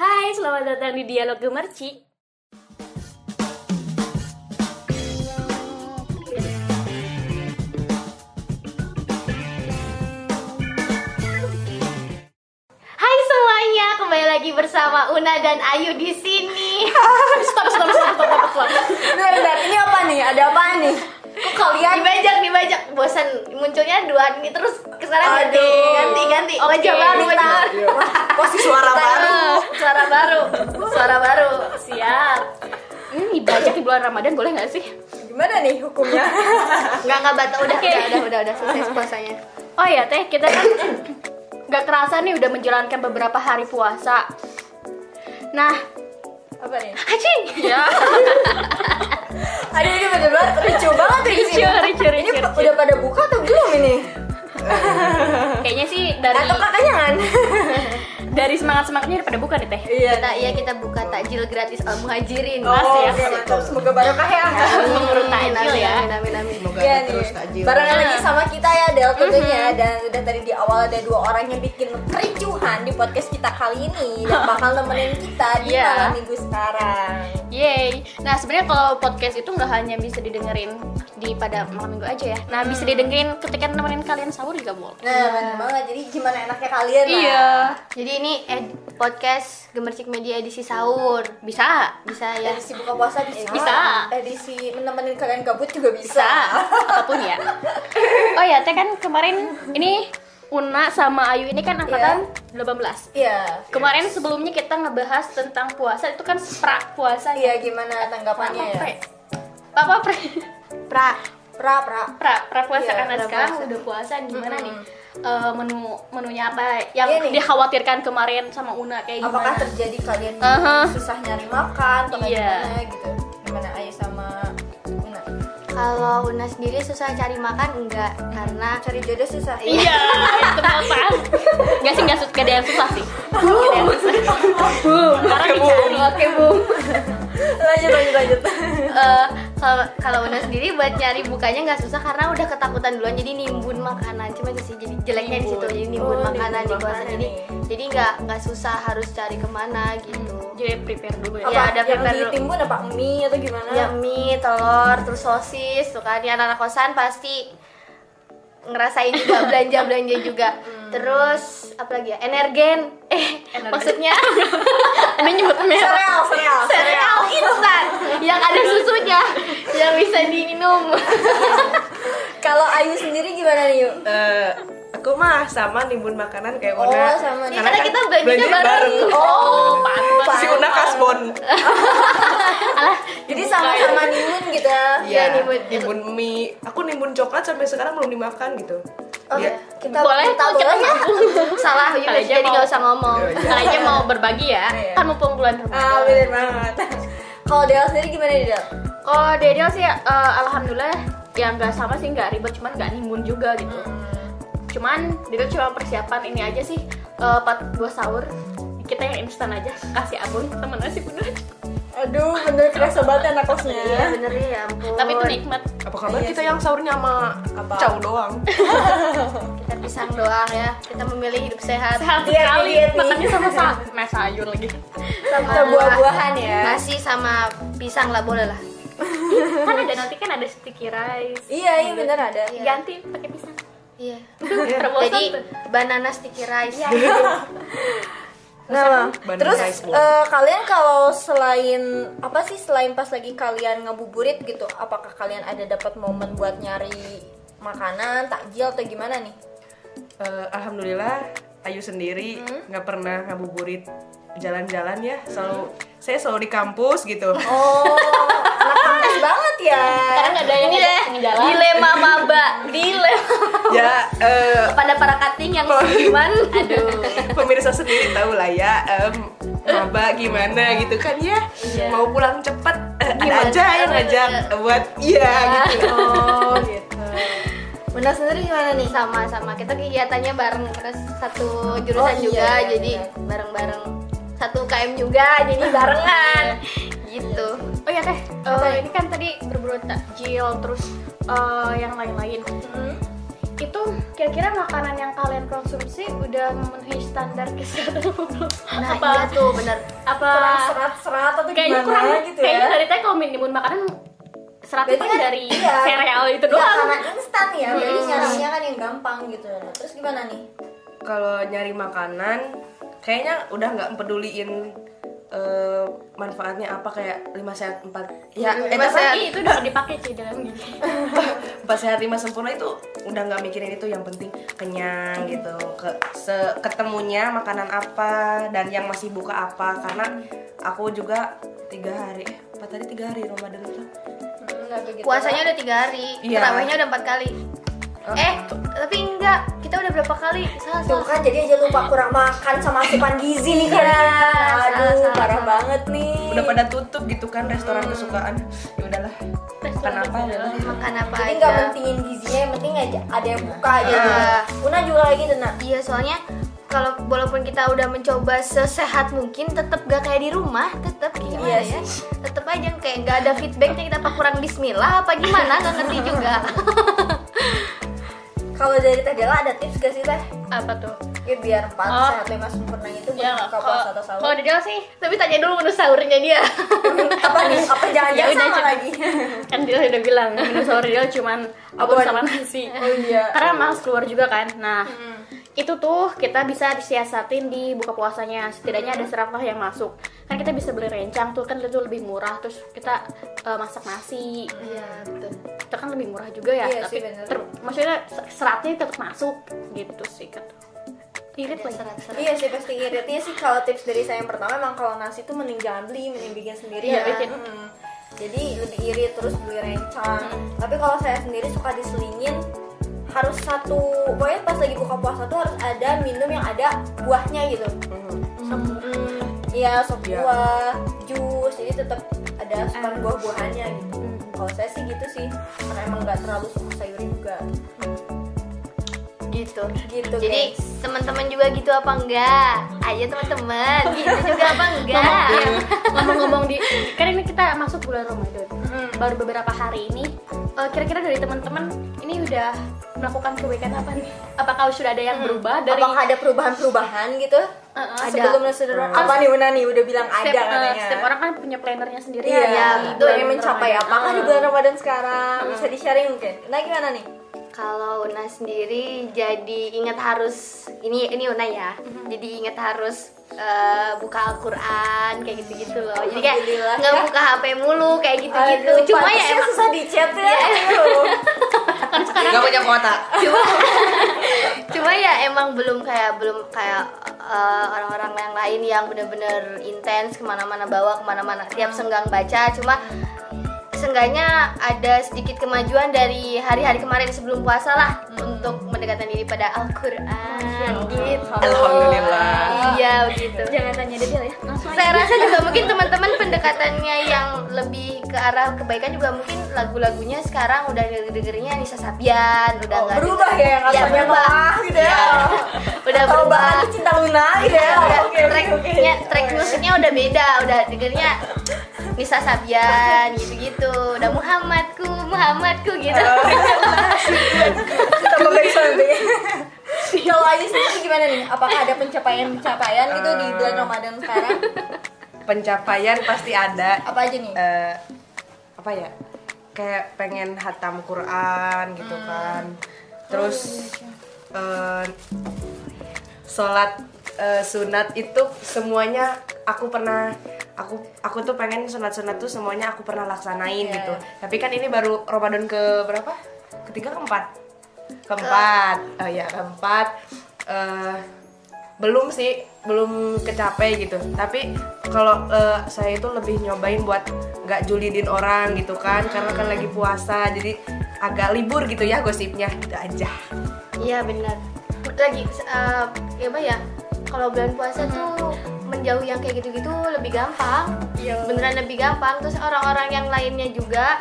Hai, selamat datang di Dialog Gemerci. Hai semuanya, kembali lagi bersama Una dan Ayu di sini. stop stop stop stop stop stop bentar bentar ini apa nih ada apa nih kok kalian Dibajak, dibajak. Bosan munculnya dua ini terus kesana ganti, Aduh. ganti, ganti. Oke, Wajah baru, kita- wajah baru. pasti Iya. suara baru Suara baru, suara baru. Siap. Ini dibajak di bulan Ramadan boleh nggak sih? gimana nih hukumnya Enggak enggak batal udah, Oke. udah, udah, udah, udah selesai puasanya. Oh iya teh, kita kan nggak kerasa nih udah menjalankan beberapa hari puasa. Nah, apa nih acing. Ya. aduh ini bener banget ricu banget Ricu, ini. ricu, ini ricu, pe- ricu. udah pada buka atau belum ini Kayaknya sih dari atau kan? kakanyangan dari semangat semangatnya daripada buka deh teh. iya Kita iya kita buka takjil gratis al muhajirin. oh Mas ya. oke mantap semoga barokah ya Mengurut takjil Amin, ya. amin, amin, amin. Iya nih, barengan lagi sama kita ya Del tentunya Dan udah tadi di awal ada dua orang yang bikin kericuhan di podcast kita kali ini Dan bakal nemenin kita di Iya. malam minggu sekarang Yeay. Nah, sebenarnya kalau podcast itu nggak hanya bisa didengerin di pada malam minggu aja ya. Nah, bisa didengerin ketika nemenin kalian sahur juga boleh. Nah, bener banget. Jadi gimana enaknya Iya. kalian lah. Jadi ini eh, ed- podcast Gemercik Media edisi sahur. Bisa. Bisa ya. Edisi buka puasa bisa. Bisa. Edisi menemenin kalian gabut juga bisa. bisa apapun ya oh ya teh kan kemarin ini Una sama Ayu ini kan angkatan 18 Iya. kemarin sebelumnya kita ngebahas tentang puasa itu kan pra puasa Iya, gimana tanggapannya ya? apa pre Pra. Pra pra. pra pra puasa Iya, karena pra sekarang puasa. udah puasa gimana Mm-mm. nih Eh, menu menunya apa yang Iya nih. dikhawatirkan kemarin sama Una kayak Apakah gimana terjadi kalian Aha. susah nyari makan atau kayak Iya. gimana gitu? Gimana Ayu sama Una? Kalau Una sendiri susah cari makan enggak karena Cari jodoh susah. Iya, itu kenapa? Gak sih, gak, su- gak ada yang susah sih Gak ada yang susah Orang dicari Oke, Bung lanjut lanjut lanjut. eh, kalau kalau Una sendiri buat nyari bukanya nggak susah karena udah ketakutan duluan jadi nimbun makanan cuma itu sih jadi jeleknya di situ Nimbun. jadi nimbun Oh, makanan di nimbun puasa makanan ya. jadi nih. jadi nggak nggak susah harus cari kemana Hmm. gitu Jadi prepare dulu ya Apa Iya, ada yang prepare dulu. ditimbun apa mie atau gimana? ya mie telur terus sosis tuh kan ya anak kosan pasti ngerasain juga belanja belanja juga Hmm. terus apa lagi ya energen eh Energen. maksudnya Ini nyebut merah Sereal, sereal, sereal. sereal Oh, instan yang ada susunya yang bisa diminum Kalau Ayu sendiri gimana nih, Yu? Eh, aku mah sama nimbun makanan kayak Oh, Una. sama nih. Ya, karena kan kita belanjanya bareng. Oh, bareng. Si Una kasbon. Jadi sama-sama nimun gitu ya. Iya, nimbun. nimbun mie. Aku nimbun coklat sampai sekarang belum dimakan gitu. Oke, Iya. kita Boleh, kita kita boleh ya. salah juga Kali aja sih, jadi mau- nggak usah ngomong Iya, iya. Kalian mau berbagi ya, Iya. kan mumpung bulan Ah, Ramadan bener banget. Kalau Del sendiri gimana Del? Kalau Dedel sih, eh, alhamdulillah ya nggak sama sih, nggak ribet, cuman nggak nimbun juga gitu Hmm. Cuman Dedel cuma persiapan ini aja sih, eh, pat buah sahur kita yang instan aja kasih abon temen nasi bener Aduh, bener kerasa banget anak kosnya. iya bener ya ya ampun tapi itu nikmat Apa kabar Iya kita sih. yang sahurnya sama Apa? cau doang? kita pisang doang ya kita memilih hidup sehat sehat Iya, sekali iya, iya. makannya sama sa sama sayur lagi Sama buah-buahan ya. nasi sama pisang lah boleh lah kan ada nanti kan ada sticky rice Iya, iya bener ada. Iya. ganti pakai pisang iya Terbosan jadi tuh. banana sticky rice Iya. Nah, Bandung terus Rice Bowl. eh, kalian kalau selain apa sih selain pas lagi kalian ngebuburit gitu, apakah kalian ada dapat momen buat nyari makanan, takjil atau gimana nih? Eh, Alhamdulillah Ayu sendiri nggak pernah ngabuburit jalan-jalan ya. Selalu saya selalu di kampus gitu. Oh, anak kampus banget ya. karena nggak ada yang ini Iya. deh jalan dilema maba dilema ya eh, pada para cutting yang seniman aduh pemirsa sendiri tahu lah ya em, maba gimana gitu kan ya mau pulang cepet eh, Iya. ada Gimana? Ah. aja yang ngajak buat iya gitu Oh, gitu. Bunda sendiri gimana nih? sama sama kita kegiatannya bareng terus satu jurusan Oh, iya, juga iya, jadi iya. bareng bareng satu KM juga jadi barengan Iya. gitu oh ya teh eh, ini kan tadi berburu takjil terus eh, yang lain-lain itu kira-kira makanan yang kalian konsumsi udah memenuhi standar kesehatan apa belum? Nah apa iya tuh bener apa kurang serat-serat atau kayaknya gimana kurang gitu kayaknya ya dari teh kalau menimbun makanan seratnya Berarti paling kan- dari iya. sereal itu Nggak doang. karena instan ya berarti nyarapnya kan yang gampang gitu Nah, terus gimana nih kalau nyari makanan kayaknya udah nggak peduliin eh, manfaatnya apa kayak 5 sehat 4 ya eh, Mas sehat, Agi itu udah dipakai sih dalam gini. 4 sehat 5 sempurna itu udah nggak mikirin itu yang penting kenyang gitu Ke- se- ketemunya makanan apa dan yang masih buka apa karena aku juga tiga hari eh, apa tadi tiga hari Ramadan itu nggak begitu Puasanya udah tiga hari Iya. Terawihnya udah empat kali Eh tapi enggak Kita udah berapa kali Salah Tuh salah kan jadi aja lupa kurang makan sama asupan gizi nih Iya, kan. Aduh, salah, parah banget nih. udah pada tutup gitu kan restoran kesukaan ya udahlah ya? makan apa udahlah Makan apa Jadi nggak aja mentingin gizinya, yang penting aja ada yang buka Ah. aja. gitu. Iya. Una juga lagi tuh nak. Iya soalnya kalau walaupun kita udah mencoba sesehat mungkin tetap gak kayak di rumah tetap gimana ya Iya tetap aja kayak nggak ada feedbacknya kita apa kurang Bismillah apa gimana nggak ngerti juga Kalau dari Teh Dela ada tips gak sih Teh? Apa tuh? Ya biar empat Oh. sehat lima sempurna itu buat Ya, buka kalau puasa atau kalau sahur. di Del sih, tapi tanya dulu menu sahurnya dia. apa nih? Apa Ya jangan-jangan udah, sama coba. lagi? kan dia udah bilang menu sahur dia cuman abon sama nasi. Oh iya. Hmm. Karena males keluar juga kan. Nah, itu tuh kita bisa siasatin di buka puasanya. Setidaknya ada serapah yang masuk. Kan kita bisa beli rencang tuh kan itu lebih murah. Terus kita eh, masak nasi. iya betul Itu kan lebih murah juga ya. Iya tapi sih, bener. ter- maksudnya seratnya tetap masuk gitu sih kata. Irit lagi. Iya sih pasti iritnya sih kalau tips dari saya yang pertama emang kalau nasi tuh mending jangan beli, mending bikin sendiri Iya, ya. bikin. Mm. Jadi lebih irit terus beli rencang. Tapi kalau saya sendiri suka diselingin harus satu pokoknya pas lagi buka puasa tuh harus ada minum yang ada buahnya gitu. Mm, Iya, sop Iya. buah, jus, jadi tetap ada asupan buah-buahannya gitu. Kalau saya sih gitu sih, karena emang nggak terlalu suka sayur juga. gitu Gitu. jadi guys. teman-teman juga gitu apa enggak ayo teman-teman gitu juga apa enggak ngomong-ngomong di kan ini kita masuk bulan Ramadan Hmm. baru beberapa hari ini eh, kira-kira dari teman-teman ini udah melakukan kebaikan apa nih apakah sudah ada yang berubah dari Hmm. Apakah ada perubahan-perubahan gitu? Ada. Sebelum sederhana. Apa nih Una nih udah bilang ada setiap, eh, katanya. setiap orang kan punya plannernya sendiri ya, Iya, Iya, itu betul. yang mencapai apa kan di bulan Ramadan sekarang? Bisa di-sharing mungkin. Nah, gimana nih? Kalau Una sendiri jadi ingat harus ini ini Una ya. Mm-hmm. Jadi ingat harus eh, buka Al-Qur'an kayak gitu-gitu loh. Jadi kayak Alhamdulillah, nggak ya. buka HP mulu kayak gitu-gitu. Aduh, Cuma ya pantasnya emang susah di-chat ya. Aduh. nggak punya kuota cuma cuma ya emang belum kayak belum kayak eh, orang-orang yang lain yang bener-bener intens kemana-mana bawa kemana-mana tiap Hmm. senggang baca cuma seenggaknya ada sedikit kemajuan dari hari-hari kemarin sebelum puasa lah Hmm. untuk mendekatkan diri pada Al-Quran gitu Alhamdulillah. iya begitu jangan tanya detail ya langsung aja. saya rasa juga mungkin teman-teman pendekatannya yang lebih ke arah kebaikan juga mungkin lagu-lagunya sekarang udah dengerinnya Nisa Sabian udah Oh, nggak berubah denger- ya yang Iya, asalnya berubah. mah gitu ya. udah Kalau berubah bahan cinta Luna gitu ya. Udah, Oke, oke, track, oke. ya, track musiknya udah beda udah dengernya Nisa Sabian gitu-gitu udah Muhammadku Muhammadku gitu Oh. Kita memberi sampai. Kalau Ayu sendiri gimana nih? Apakah ada pencapaian-pencapaian gitu di bulan Ramadan sekarang? pencapaian pasti ada Apa aja nih? eh apa ya kayak pengen hatam Quran gitu kan terus eh sholat eh, sunat itu semuanya aku pernah aku aku tuh pengen sunat sunat tuh semuanya aku pernah laksanain Iya. gitu tapi kan ini baru Ramadan ke berapa ketiga keempat keempat oh ya keempat eh belum sih belum kecapai gitu tapi kalau eh, saya itu lebih nyobain buat nggak julidin orang gitu kan karena kan lagi puasa jadi agak libur gitu ya gosipnya gitu aja Iya benar. Lagi eh, ya apa ya? Kalau bulan puasa tuh menjauh yang kayak gitu-gitu lebih gampang. Iya. Beneran lebih gampang. Terus orang-orang yang lainnya juga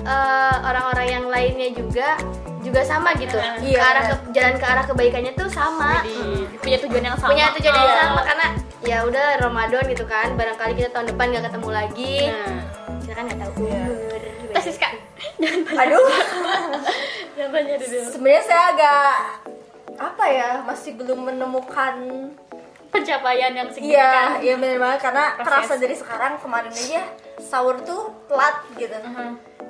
eh, orang-orang yang lainnya juga juga sama gitu. ke Iya, arah benar. ke- jalan ke arah kebaikannya tuh sama. Jadi, punya tujuan yang sama Punya tujuan yang Oh. sama karena ya udah Ramadan gitu kan. Barangkali kita tahun depan gak ketemu lagi. Nah. Kita kan gak tahu umur. Tesis kak aduh Yang tanya di dulu. sebenarnya saya agak apa ya masih belum menemukan Pencapaian yang signifikan. Iya, iya benar banget karena Proses. terasa dari sekarang kemarin aja sahur tuh telat gitu.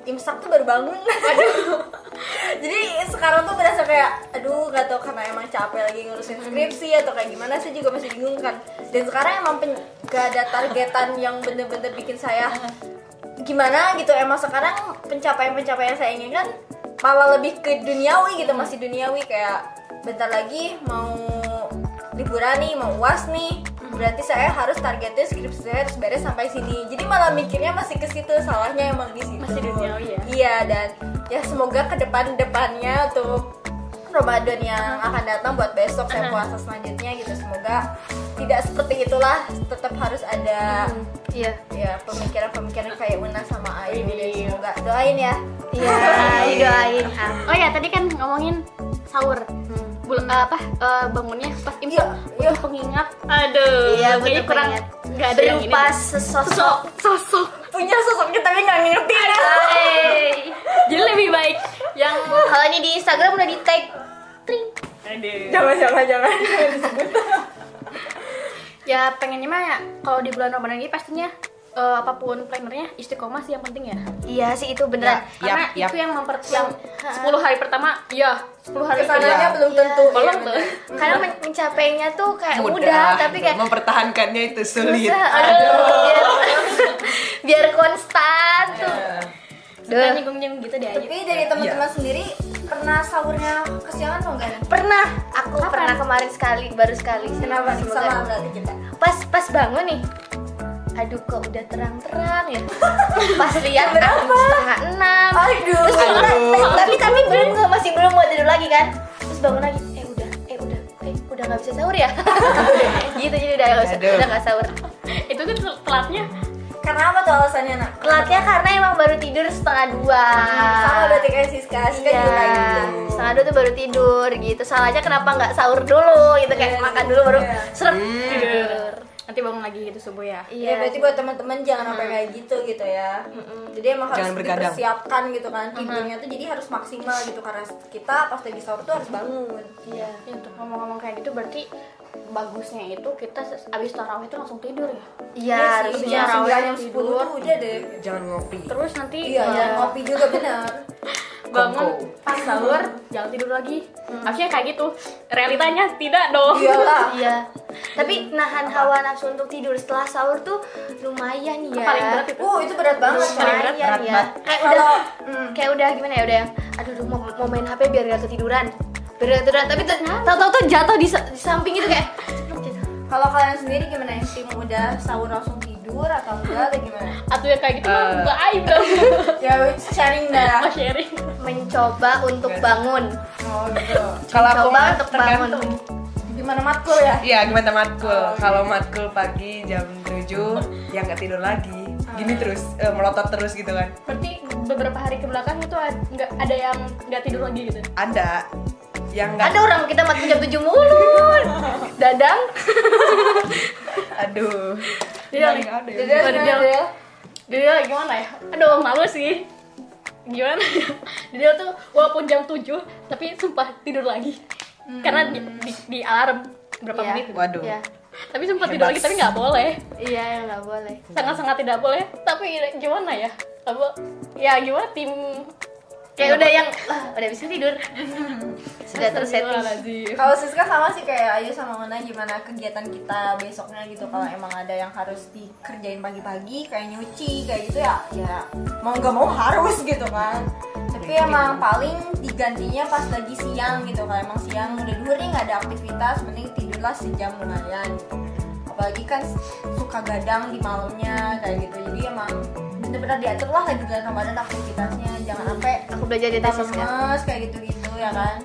Imsak tuh baru bangun. Aduh. Jadi sekarang tuh berasa kayak aduh gak tau karena emang capek lagi ngurusin skripsi atau kayak gimana sih juga masih bingung kan. Dan sekarang emang pen- gak ada targetan yang bener-bener bikin saya gimana gitu emang sekarang pencapaian-pencapaian yang saya inginkan malah lebih ke duniawi Hmm. gitu masih duniawi kayak bentar lagi mau liburan nih mau uas nih Hmm. berarti saya harus targetnya skripsi saya harus beres sampai sini jadi malah mikirnya masih ke situ salahnya emang di situ Masih duniawi ya? iya dan ya semoga ke depan depannya tuh Ramadan yang Hmm. akan datang buat besok saya puasa selanjutnya gitu semoga tidak seperti itulah tetap harus ada Hmm. Iya. ya pemikiran-pemikiran kayak Una sama Ayu dan Widih. semoga doain ya Iya, doain. Oh Ah. ya tadi kan ngomongin sahur. Belum eh, apa eh, bangunnya pas imsak Iya, iya. butuh pengingat. Aduh, Iya, kayaknya butuh kurang pengingat. nggak ada yang ini. Berupa sesosok. sosok. punya sosoknya tapi nggak ngerti ya Hai. Jadi lebih baik yang Kalau ini di Instagram udah di tag. Tring. Aduh. jangan jangan jangan Ya pengennya mah ya, kalau di bulan Ramadan ini pastinya eh, apapun plannernya istiqomah sih yang penting ya. Iya sih itu beneran. Karena Yap, yap. itu yang memper yang 10 hari pertama, iya, 10 hari kedua. kesananya belum tentu Belum Iya, tuh. Karena men- mencapainya tuh kayak mudah, tapi kayak mempertahankannya itu sulit. susah. Aduh. Biar, biar konstan tuh. Kita Duh. nyinggung-nyinggung gitu deh bener. aja. tapi dari teman-teman sendiri pernah sahurnya kesiangan atau enggak nih Pernah, aku pernah kemarin sekali, baru sekali. sih. kenapa nih Semoga- sama berarti kita Pas pas bangun nih. Aduh kok udah terang-terang ya. Pas lihat jam setengah enam. aduh Terus bangun lagi, Aduh. tapi- tapi tapi belum nggak masih belum mau tidur lagi kan terus bangun lagi eh udah eh udah eh udah nggak bisa sahur ya gitu jadi udah nggak usah- Aduh. udah nggak sahur Itu kan tel- telatnya karena apa tuh alasannya nak telatnya karena emang baru tidur setengah dua Hmm, sama berarti kayak Siska Siska Ah. Iya, juga gitu setengah dua tuh baru tidur gitu. Salahnya kenapa nggak sahur dulu gitu kayak Iya, makan dulu baru iya. serem tidur. Nanti bangun lagi gitu subuh ya. Iya, berarti buat teman-teman jangan sampai kayak gitu gitu ya. Jadi emang harus Jangan bergadang. dipersiapkan gitu kan tidurnya tuh jadi harus maksimal gitu karena kita pas lagi sahur tuh harus bangun. Iya. Ya, untuk ngomong-ngomong kayak gitu berarti bagusnya itu kita se- abis tarawih itu langsung tidur ya. Iya, Iya sih, harusnya. jam harusnya sembilan, jam tidur. sepuluh tuh udah deh. Jangan ngopi. Terus nanti Iya, eh, jangan ngopi juga benar. bangun Kongko. pas sahur jangan tidur lagi. Harusnya kayak gitu. Realitanya tidak dong. Oh. Iyalah. Iya. Tapi nahan hawa nafsu untuk tidur setelah sahur tuh lumayan ya. Paling berat itu. Uh, itu berat banget. Lumayan Pak. ya. berat banget. Kayak Kalau- udah, kayak udah gimana ya udah yang, aduh duh, mau, mau main HP biar gak ketiduran, biar gak ketiduran. Tapi tuh, tau-tau tuh jatuh di, sa- di samping itu kayak. cepet jatuh. Kalau kalian sendiri gimana yang tim udah sahur langsung tidur atau enggak atau gimana? Atau yang kayak gitu mah Eh. nggak aib dong. Ya it's sharing dah. Mau sharing. Mencoba untuk bangun, Oh gitu. Kalau aku mencoba mah untuk bangun. tergantung. Gimana matkul ya? Iya, gimana matkul? Kalau matkul pagi jam 7 ya nggak tidur lagi. Gini Ah. terus eh, melotot terus gitu kan. Berarti beberapa hari ke belakang itu ad- nggak ada yang nggak tidur lagi gitu. Oh. Ada yang Ada nggak orang kita mati jam 7 mulu. Dadang. aduh. Iya. Nggak ada ya. Dedel, Dedel. dedel. Dia gimana ya? Aduh, malu sih. Gimana ya? Dia tuh walaupun jam 7 tapi sumpah tidur lagi. Hmm. Karena di, di- di alarm berapa Iya. menit. gitu. Waduh. Iya, Tapi sempat tidur lagi tapi nggak boleh. iya nggak boleh. Sangat-sangat tidak boleh. Tapi gimana ya? Apa ya gimana tim Kayak udah yang, "Ah, udah bisa tidur. Sudah tersetting. Astagfirullahaladzim. Kalau Siska sama sih kayak Ayu sama Una gimana kegiatan kita besoknya gitu kalau emang ada yang harus dikerjain pagi-pagi kayak nyuci kayak gitu ya ya mau nggak mau harus gitu kan tapi emang paling digantinya pas lagi siang gitu kalau emang siang udah duhur nih nggak ada aktivitas mending tidurlah sejam lumayan apalagi kan suka gadang di malamnya kayak gitu jadi emang bener-bener diatur lah lagi bulan Ramadan aktivitasnya jangan sampai Aku belajar di kita tesis kan. lemes kayak gitu-gitu ya kan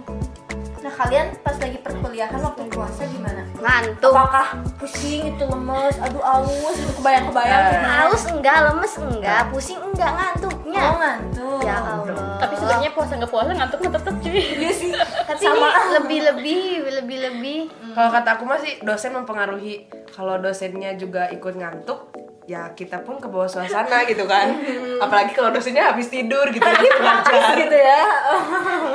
nah kalian pas lagi perkuliahan waktu puasa gimana Ngantuk. apakah pusing itu lemes aduh aus itu kebayang-kebayang Eh. gimana? Haus enggak, lemes enggak, pusing enggak, ngantuknya. oh ngantuk Ya Allah. Tapi sebenarnya puasa nggak puasa ngantuk tetep cuy. Iya sih tapi sama ini lebih-lebih lebih-lebih Kalau kata aku masih dosen mempengaruhi. Kalau dosennya juga ikut ngantuk, ya kita pun ke bawah suasana gitu kan apalagi kalau dosennya habis tidur gitu gitu Iya, gitu ya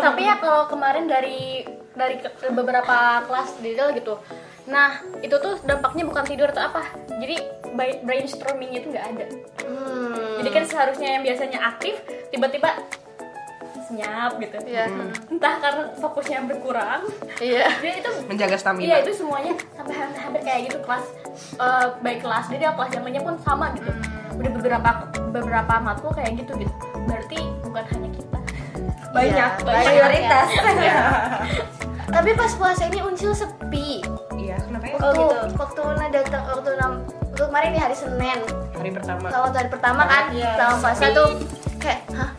tapi ya kalau kemarin dari dari ke- beberapa kelas detail gitu nah itu tuh dampaknya bukan tidur atau apa jadi by- brainstormingnya itu nggak ada Hmm. jadi kan seharusnya yang biasanya aktif tiba-tiba senyap gitu Iya. entah karena fokusnya berkurang Iya. jadi itu menjaga stamina Iya itu semuanya sampai hampir, hampir kayak gitu kelas eh, baik kelas jadi kelas yang lainnya pun sama gitu. Udah beberapa beberapa matkul kayak gitu gitu. Berarti bukan hanya kita. Banyak, Iya, banyak. prioritas Tapi pas puasa ini unsil sepi. Iya, kenapa ya Waktu waktu Una datang waktu enam waktu kemarin nih hari Senin. hari pertama Kalau waktu hari pertama kan Iya. selama puasa tuh kayak hah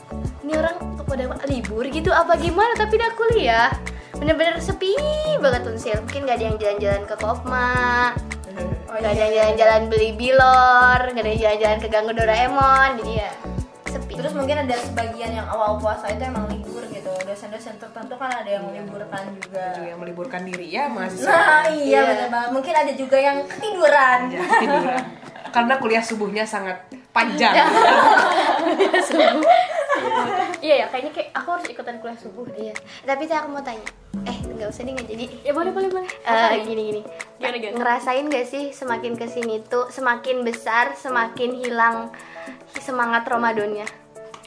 ini orang kepada libur gitu apa gimana tapi udah kuliah bener-bener sepi banget unsil mungkin gak ada yang jalan-jalan ke Kopma Oh, iya, gak ada yang jalan-jalan beli bilor gak ada yang jalan-jalan ke Ganggu Doraemon jadi ya sepi terus mungkin ada sebagian yang awal puasa itu emang libur gitu dosen-dosen tertentu kan ada yang meliburkan juga juga yang meliburkan diri ya mahasiswa nah iya Iya. benar banget mungkin ada juga yang ketiduran Ya, tiduran. karena kuliah subuhnya sangat panjang Iya ya kayaknya kayak aku harus ikutan kuliah subuh. Iya. Tapi teh aku mau tanya. Eh, nggak usah deh nggak jadi. Ya boleh boleh boleh. Eh, gini gini. Gimana, gimana? Ngerasain gak sih semakin kesini tuh semakin besar semakin hilang semangat Ramadannya?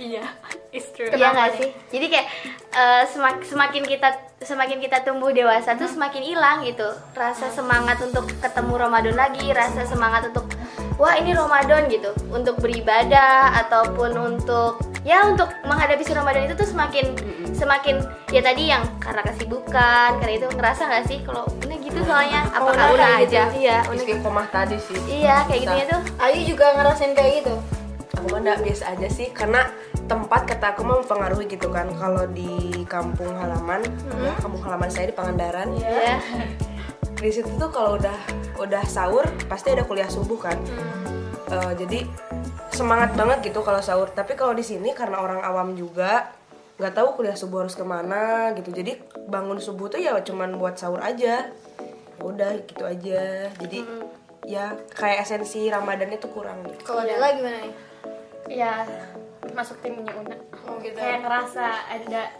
Iya, it's true. Iya nggak sih? Jadi kayak eh, semak- semakin kita semakin kita tumbuh dewasa tuh semakin hilang gitu. Rasa semangat untuk ketemu Ramadan lagi, rasa semangat untuk wah ini Ramadan gitu, untuk beribadah ataupun untuk ya untuk menghadapi si Ramadan itu tuh semakin semakin ya tadi yang karena kesibukan, karena itu ngerasa nggak sih kalau Una gitu soalnya apakah Una Una kayak aja? Iya, Una gitu. istiqomah tadi sih Nah, Iya, kayak gitunya tuh. Ayu juga ngerasain kayak gitu aku mah nggak biasa aja sih karena tempat kata aku mah mempengaruhi gitu kan kalau di kampung halaman ya, kampung halaman saya di Pangandaran Mm-hmm. Iya. di situ tuh kalau udah udah sahur pasti ada kuliah subuh kan Eh, jadi semangat banget gitu kalau sahur tapi kalau di sini karena orang awam juga nggak tahu kuliah subuh harus kemana gitu jadi bangun subuh tuh ya cuman buat sahur aja udah gitu aja jadi ya kayak esensi ramadannya tuh kurang gitu. kalau Dela gimana nih Iya, masuk timnya Una. Oh, gitu. Kayak ngerasa ada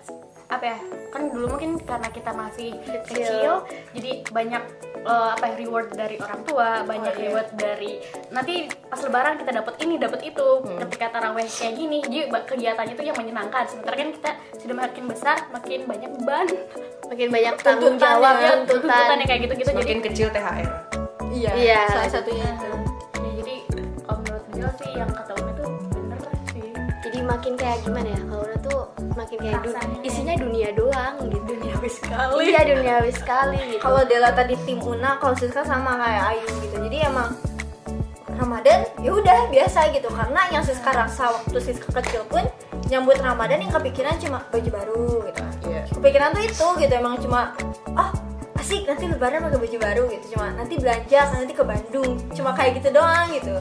apa ya? Kan dulu mungkin karena kita masih kecil, jadi banyak eh, apa ya, reward dari orang tua, banyak reward dari nanti pas lebaran kita dapat ini, dapat itu. Ketika taraweh kayak gini, jadi ba- kegiatannya itu yang menyenangkan. Sementara kan kita sudah makin besar, makin banyak beban. Makin banyak tanggung jawab, ya, tuntutan tuntutan. yang kayak gitu-gitu. Jadi semakin kecil THR iya, Iya. salah satunya itu ya, jadi kalau menurut gue sih yang kata Una tuh bener sih. jadi makin kayak gimana ya kalau udah tuh makin kayak du- Rasanya kayak- isinya dunia doang gitu Duniawi sekali. iya duniawi sekali gitu kalau Dela tadi tim Una kalau Siska sama kayak Ayu gitu jadi emang Ramadan ya udah biasa gitu karena yang Siska rasa waktu Siska kecil pun nyambut Ramadan yang kepikiran cuma baju baru gitu Iya. kepikiran tuh itu gitu emang cuma oh asik nanti lebaran pakai baju baru gitu cuma nanti belanja nanti ke Bandung cuma kayak gitu doang gitu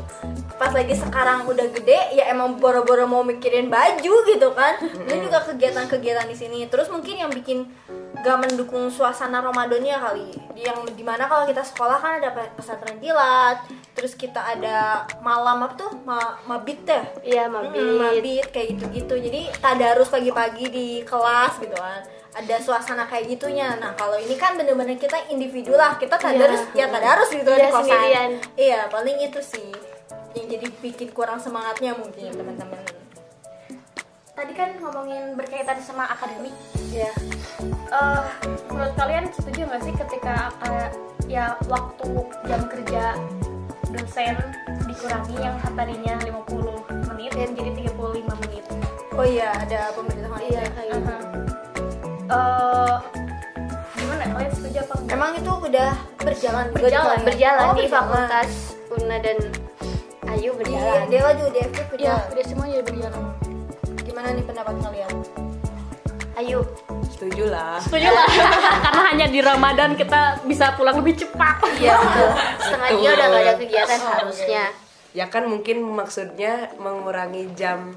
pas lagi sekarang udah gede ya emang boro-boro mau mikirin baju gitu kan dan juga kegiatan-kegiatan di sini terus mungkin yang bikin gak mendukung suasana Ramadannya kali yang dimana kalau kita sekolah kan ada pesantren kilat terus kita ada malam apa tuh Ma- mabit ya iya Mm, mabit mabit kayak gitu-gitu jadi tadarus pagi-pagi di kelas gitu kan ada suasana kayak gitunya nah kalau ini kan bener-bener kita individu lah kita tadarus ya tadarus gitu kan Iya, di kosan sendirian. iya paling itu sih yang jadi bikin kurang semangatnya mungkin teman-teman Tadi kan ngomongin berkaitan sama akademik. Iya. Eh, menurut kalian setuju nggak sih ketika eh, ya waktu jam kerja dosen dikurangi yang tadinya 50 menit dan jadi 35 menit? oh iya ada pemberitahuan iya iya kayak gitu. Aha. Eh, gimana kalian setuju apa enggak? emang itu udah berjalan juga di berjalan kalian? berjalan Oh, di berjalan. fakultas Una dan Ayu iya berjalan Dewa juga di FP Iya, berjalan udah semua jadi berjalan. gimana nih pendapat kalian Ayu setuju lah Setuju lah, karena hanya di Ramadan kita bisa pulang lebih cepat. iya betul setengah Betul. dia udah gak ada kegiatan harusnya ya kan mungkin maksudnya mengurangi jam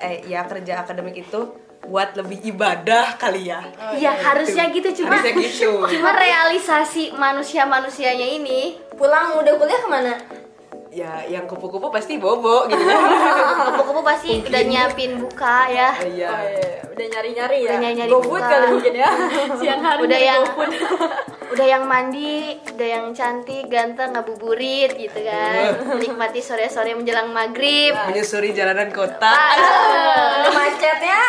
eh ya kerja akademik itu buat lebih ibadah kali ya iya harusnya gitu cuma Harusnya gitu. cuma realisasi manusia manusianya ini pulang udah kuliah kemana ya yang kupu-kupu pasti bobo gitu kan. kupu-kupu pasti udah nyiapin buka ya Iya. Oh, iya. Udah nyari-nyari ya. Udah nyari-nyari GoFood buka. kali mungkin ya. siang hari udah jadi yang GoFood. udah yang mandi udah yang cantik ganteng ngabuburit gitu kan menikmati sore-sore menjelang maghrib Iya, Menyusuri jalanan kota. Aduh, macetnya. ya?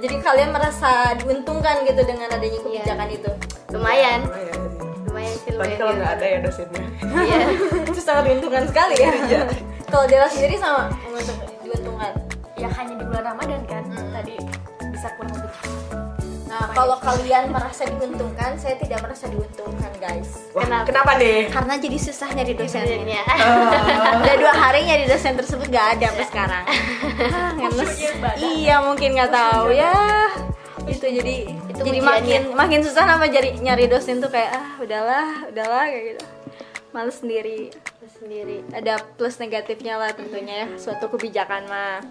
Jadi kalian merasa diuntungkan gitu dengan adanya kebijakan itu. lumayan Iya, Lumayan sih. lumayan sih Tapi lumayan kalau nggak ada ya dosennya. Iya. Itu sangat diuntungkan sekali ya. Iya. Kalau Dela sendiri sama menguntung- diuntungkan. ya hanya di bulan Ramadan kan tadi bisa kurang lebih Nah, kalau kalian merasa diuntungkan, saya tidak merasa diuntungkan, guys. Iya, Wah, Kenapa? kenapa deh? Karena jadi susah nyari dosennya. Sebenarnya. Udah dua hari nyari dosen tersebut gak ada sampai sekarang. Ah, ngenes. Iya, mungkin nggak tahu ya. Itu jadi Itu jadi ujiannya. makin makin susah nama jadi nyari dosen tuh kayak ah udahlah, udahlah kayak gitu. Males sendiri. sendiri Ada plus negatifnya lah tentunya ya suatu kebijakan mah.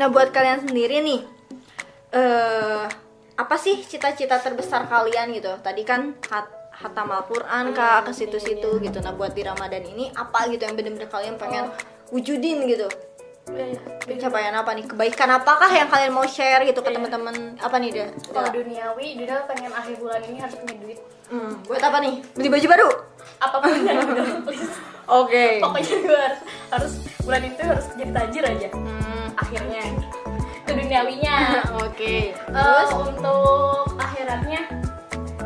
Nah, buat kalian sendiri nih eh apa sih cita-cita terbesar kalian gitu? Tadi kan hat hatam Al-Qur'an Kak ke situ-situ gitu. Nah, buat di Ramadan ini apa gitu yang bener-bener kalian pengen wujudin gitu? Iya, Pencapaian apa nih? Kebaikan apakah yang kalian mau share gitu ke teman-teman? Apa nih, Del? kalau duniawi Dina pengen akhir bulan ini harus punya duit Hmm, buat apa nih? Beli baju baru? apapun yang udah please Oke. pokoknya gue harus harus bulan itu harus jadi tajir aja akhirnya itu duniawinya Oke. terus untuk akhiratnya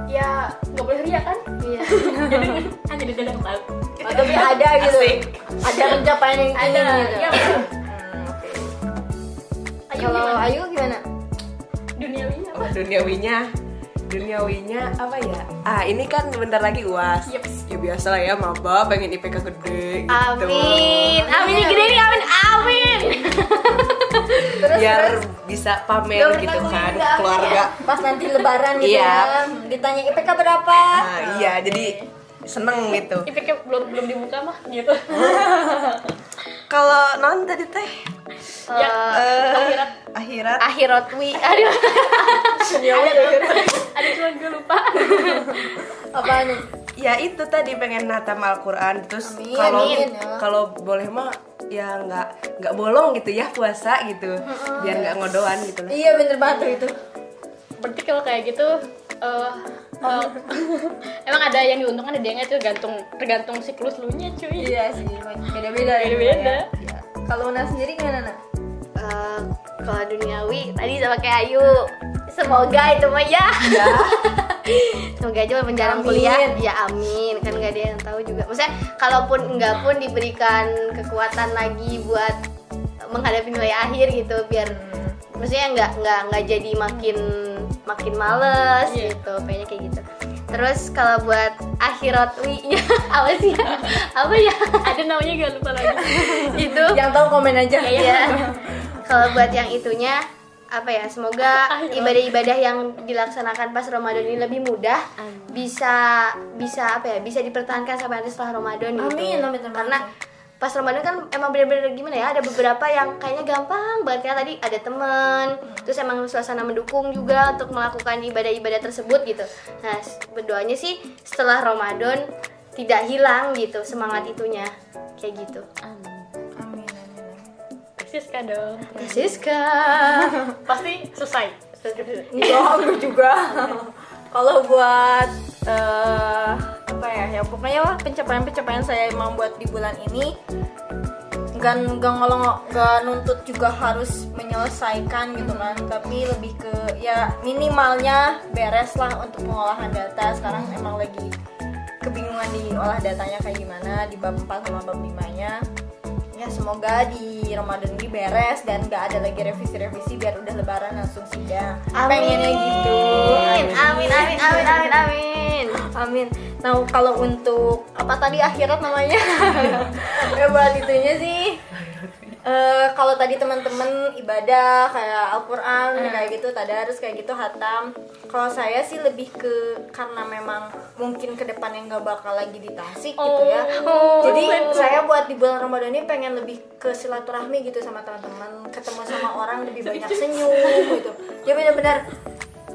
ya nggak boleh ria kan iya jadi hanya di dalam laut Oh, tapi ada gitu. Asik. Ada pencapaian yang ada ingin gitu. ya Ayu Kalau gimana? Ayu gimana? duniawinya apa Oh, Duniawinya duniawinya apa ya? Ah, ini kan bentar lagi UAS. Yeps. Ya biasa lah ya maba pengen IPK gede gitu. amin amin Iya. yang gede nih amin amin Biar bisa pamer gitu kan ke keluarga. Pas nanti lebaran gitu Iya. kan. Ditanya IPK berapa? Nah, iya, jadi seneng gitu. IPK belum belum dibuka mah gitu Kalau non tadi teh ya eh, akhirat akhirat akhiratwi aduh ada cuman gue lupa Apa nih? ya itu tadi pengen natam Al-Quran terus Amin, kalau amin. kalau boleh mah ya nggak nggak bolong gitu ya puasa gitu biar nggak ngodoan gitu loh. Iya bener banget tuh itu. berarti kalau kayak gitu eh, eh, emang ada yang diuntungkan ada yang nggak, itu gantung tergantung siklus lu nya cuy Iya sih, beda-beda. Beda-beda. Iya. Kalau Una sendiri gimana, Nak? Eh, kalau duniawi tadi sama kayak Ayu semoga itu mah ya Iya. semoga aja walaupun jarang Amin. kuliah ya amin kan nggak ada yang tahu juga maksudnya kalaupun enggak pun diberikan kekuatan lagi buat menghadapi nilai akhir gitu biar maksudnya nggak nggak nggak jadi makin makin males Iya. gitu kayaknya kayak gitu terus kalau buat akhirat nya apa sih ya? apa ya ada namanya gak lupa lagi itu Yang tahu komen aja. Iya. Kalau buat yang itunya apa ya? Semoga Akhirnya. ibadah-ibadah yang dilaksanakan pas Ramadan Iya. ini lebih mudah, bisa bisa apa ya? Bisa dipertahankan sampai nanti setelah Ramadan gitu. Amin, amin, amin. Karena pas Ramadan kan emang bener-bener gimana ya? Ada beberapa yang kayaknya gampang banget ya tadi ada temen, terus emang suasana mendukung juga untuk melakukan ibadah-ibadah tersebut gitu. Nah, s- berdoanya sih setelah Ramadan tidak hilang gitu semangat itunya kayak gitu. Amin. persis kan dong Siska. pasti selesai Enggak, aku juga. Kalau buat eh, apa ya? Ya pokoknya wah, pencapaian-pencapaian saya emang buat di bulan ini nggak nggak ngolong nggak nuntut juga harus menyelesaikan gitu kan tapi lebih ke ya minimalnya beres lah untuk pengolahan data sekarang emang lagi kebingungan diolah datanya kayak gimana di bab 4 sama bab 5 nya ya semoga di Ramadan ini beres dan nggak ada lagi revisi-revisi biar udah lebaran langsung sidang pengennya gitu Amin, amin, amin, amin, amin, amin. Amin. Nah kalau untuk apa tadi akhirat namanya? ya buat itunya sih. eh, kalau tadi teman-teman ibadah kayak Al-Qur'an kayak gitu, tadarus kayak gitu, hatam. Kalau saya sih lebih ke karena memang mungkin ke depan yang nggak bakal lagi di Tasik gitu ya. Jadi saya buat di bulan Ramadan ini pengen lebih ke silaturahmi gitu sama teman-teman, ketemu sama orang lebih banyak senyum gitu. Jadi benar-benar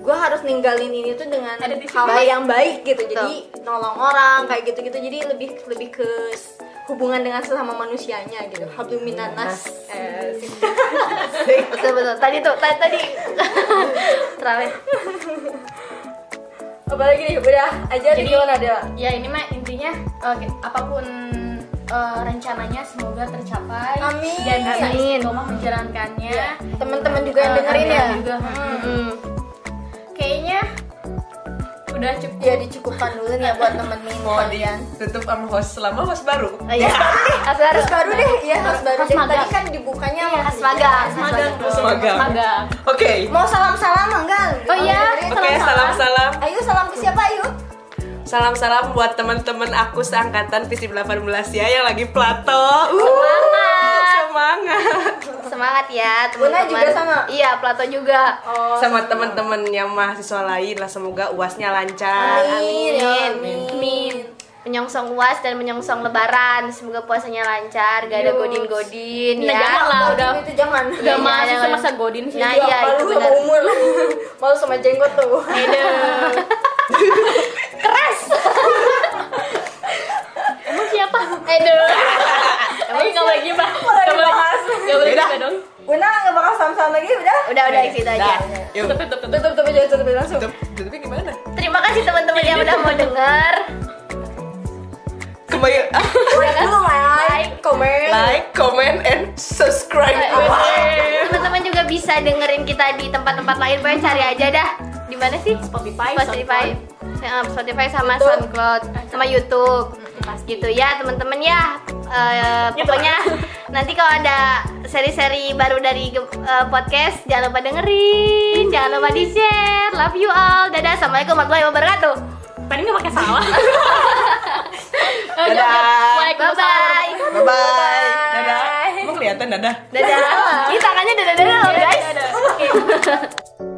gue harus ninggalin ini tuh dengan hal yang baik gitu. Jadi nolong orang kayak gitu-gitu jadi lebih lebih ke s- hubungan dengan sesama manusianya gitu hablumminanas eh, sih. betul betul tadi tuh tadi tadi terawih apalagi nih Eh, udah aja nih Jadi- gimana Dela ya ini mah intinya eh, apapun eh, rencananya semoga tercapai Amin. dan bisa Amin. istiqomah menjalankannya teman-teman juga yang Eh, dengerin ya kalian juga. kayaknya udah cukup ya dicukupkan dulu nih ya buat temenin mau kalian ditutup sama host selama host baru oh iya Mas baru Harus baru deh ya harus baru Harus deh magang. Iya, tadi kan dibukanya sama Mas Kak Maga Mas Maga. magang Mas magang. magang oke Dika. mau salam salam enggak Oh iya, oke salam salam ayo salam ke siapa ayo salam salam buat teman-teman aku seangkatan visip 18 ya yang lagi plato Uh, semangat semangat ya Buna teman-teman juga sama? iya Plato juga oh sama teman-teman yang mahasiswa lain lah semoga uasnya lancar amin iya, ya Amin. amin menyongsong uas dan menyongsong lebaran semoga puasanya lancar gak ada Yus. godin-godin Nah, jangan ya lah. udah. Iya, itu jangan udah Iya, masih jangan. masa godin sih Nah, Iya. iya. itu malu sama benar. umur malu sama jenggot tuh Emang siapa? Aduh. Emang nggak boleh gibah. Nggak boleh dibahas. Nggak boleh Yaudah. gibah dong. Bunda nggak bakal salam-salam lagi udah udah udah gitu aja Dah, yuk Tutup, tutup, tutup. tutup tutup aja tutup aja langsung tutup tutupnya gimana terima kasih teman-teman yang udah mau denger kembali ah, like dulu like comment like comment and subscribe teman-teman juga bisa dengerin kita di tempat-tempat lain pokoknya cari aja dah di mana sih Spotify, Spotify SoundCloud. Eh, Spotify sama SoundCloud sama YouTube gitu ya teman-teman ya Eh, Gitu. pokoknya nanti kalau ada seri-seri baru dari eh, podcast jangan lupa dengerin jangan lupa di share love you all dadah assalamualaikum warahmatullahi wabarakatuh Tadi nggak pakai salah. Dadah. bye bye bye bye dadah emang kelihatan dadah dadah ini tangannya dadah dadah guys Dadah.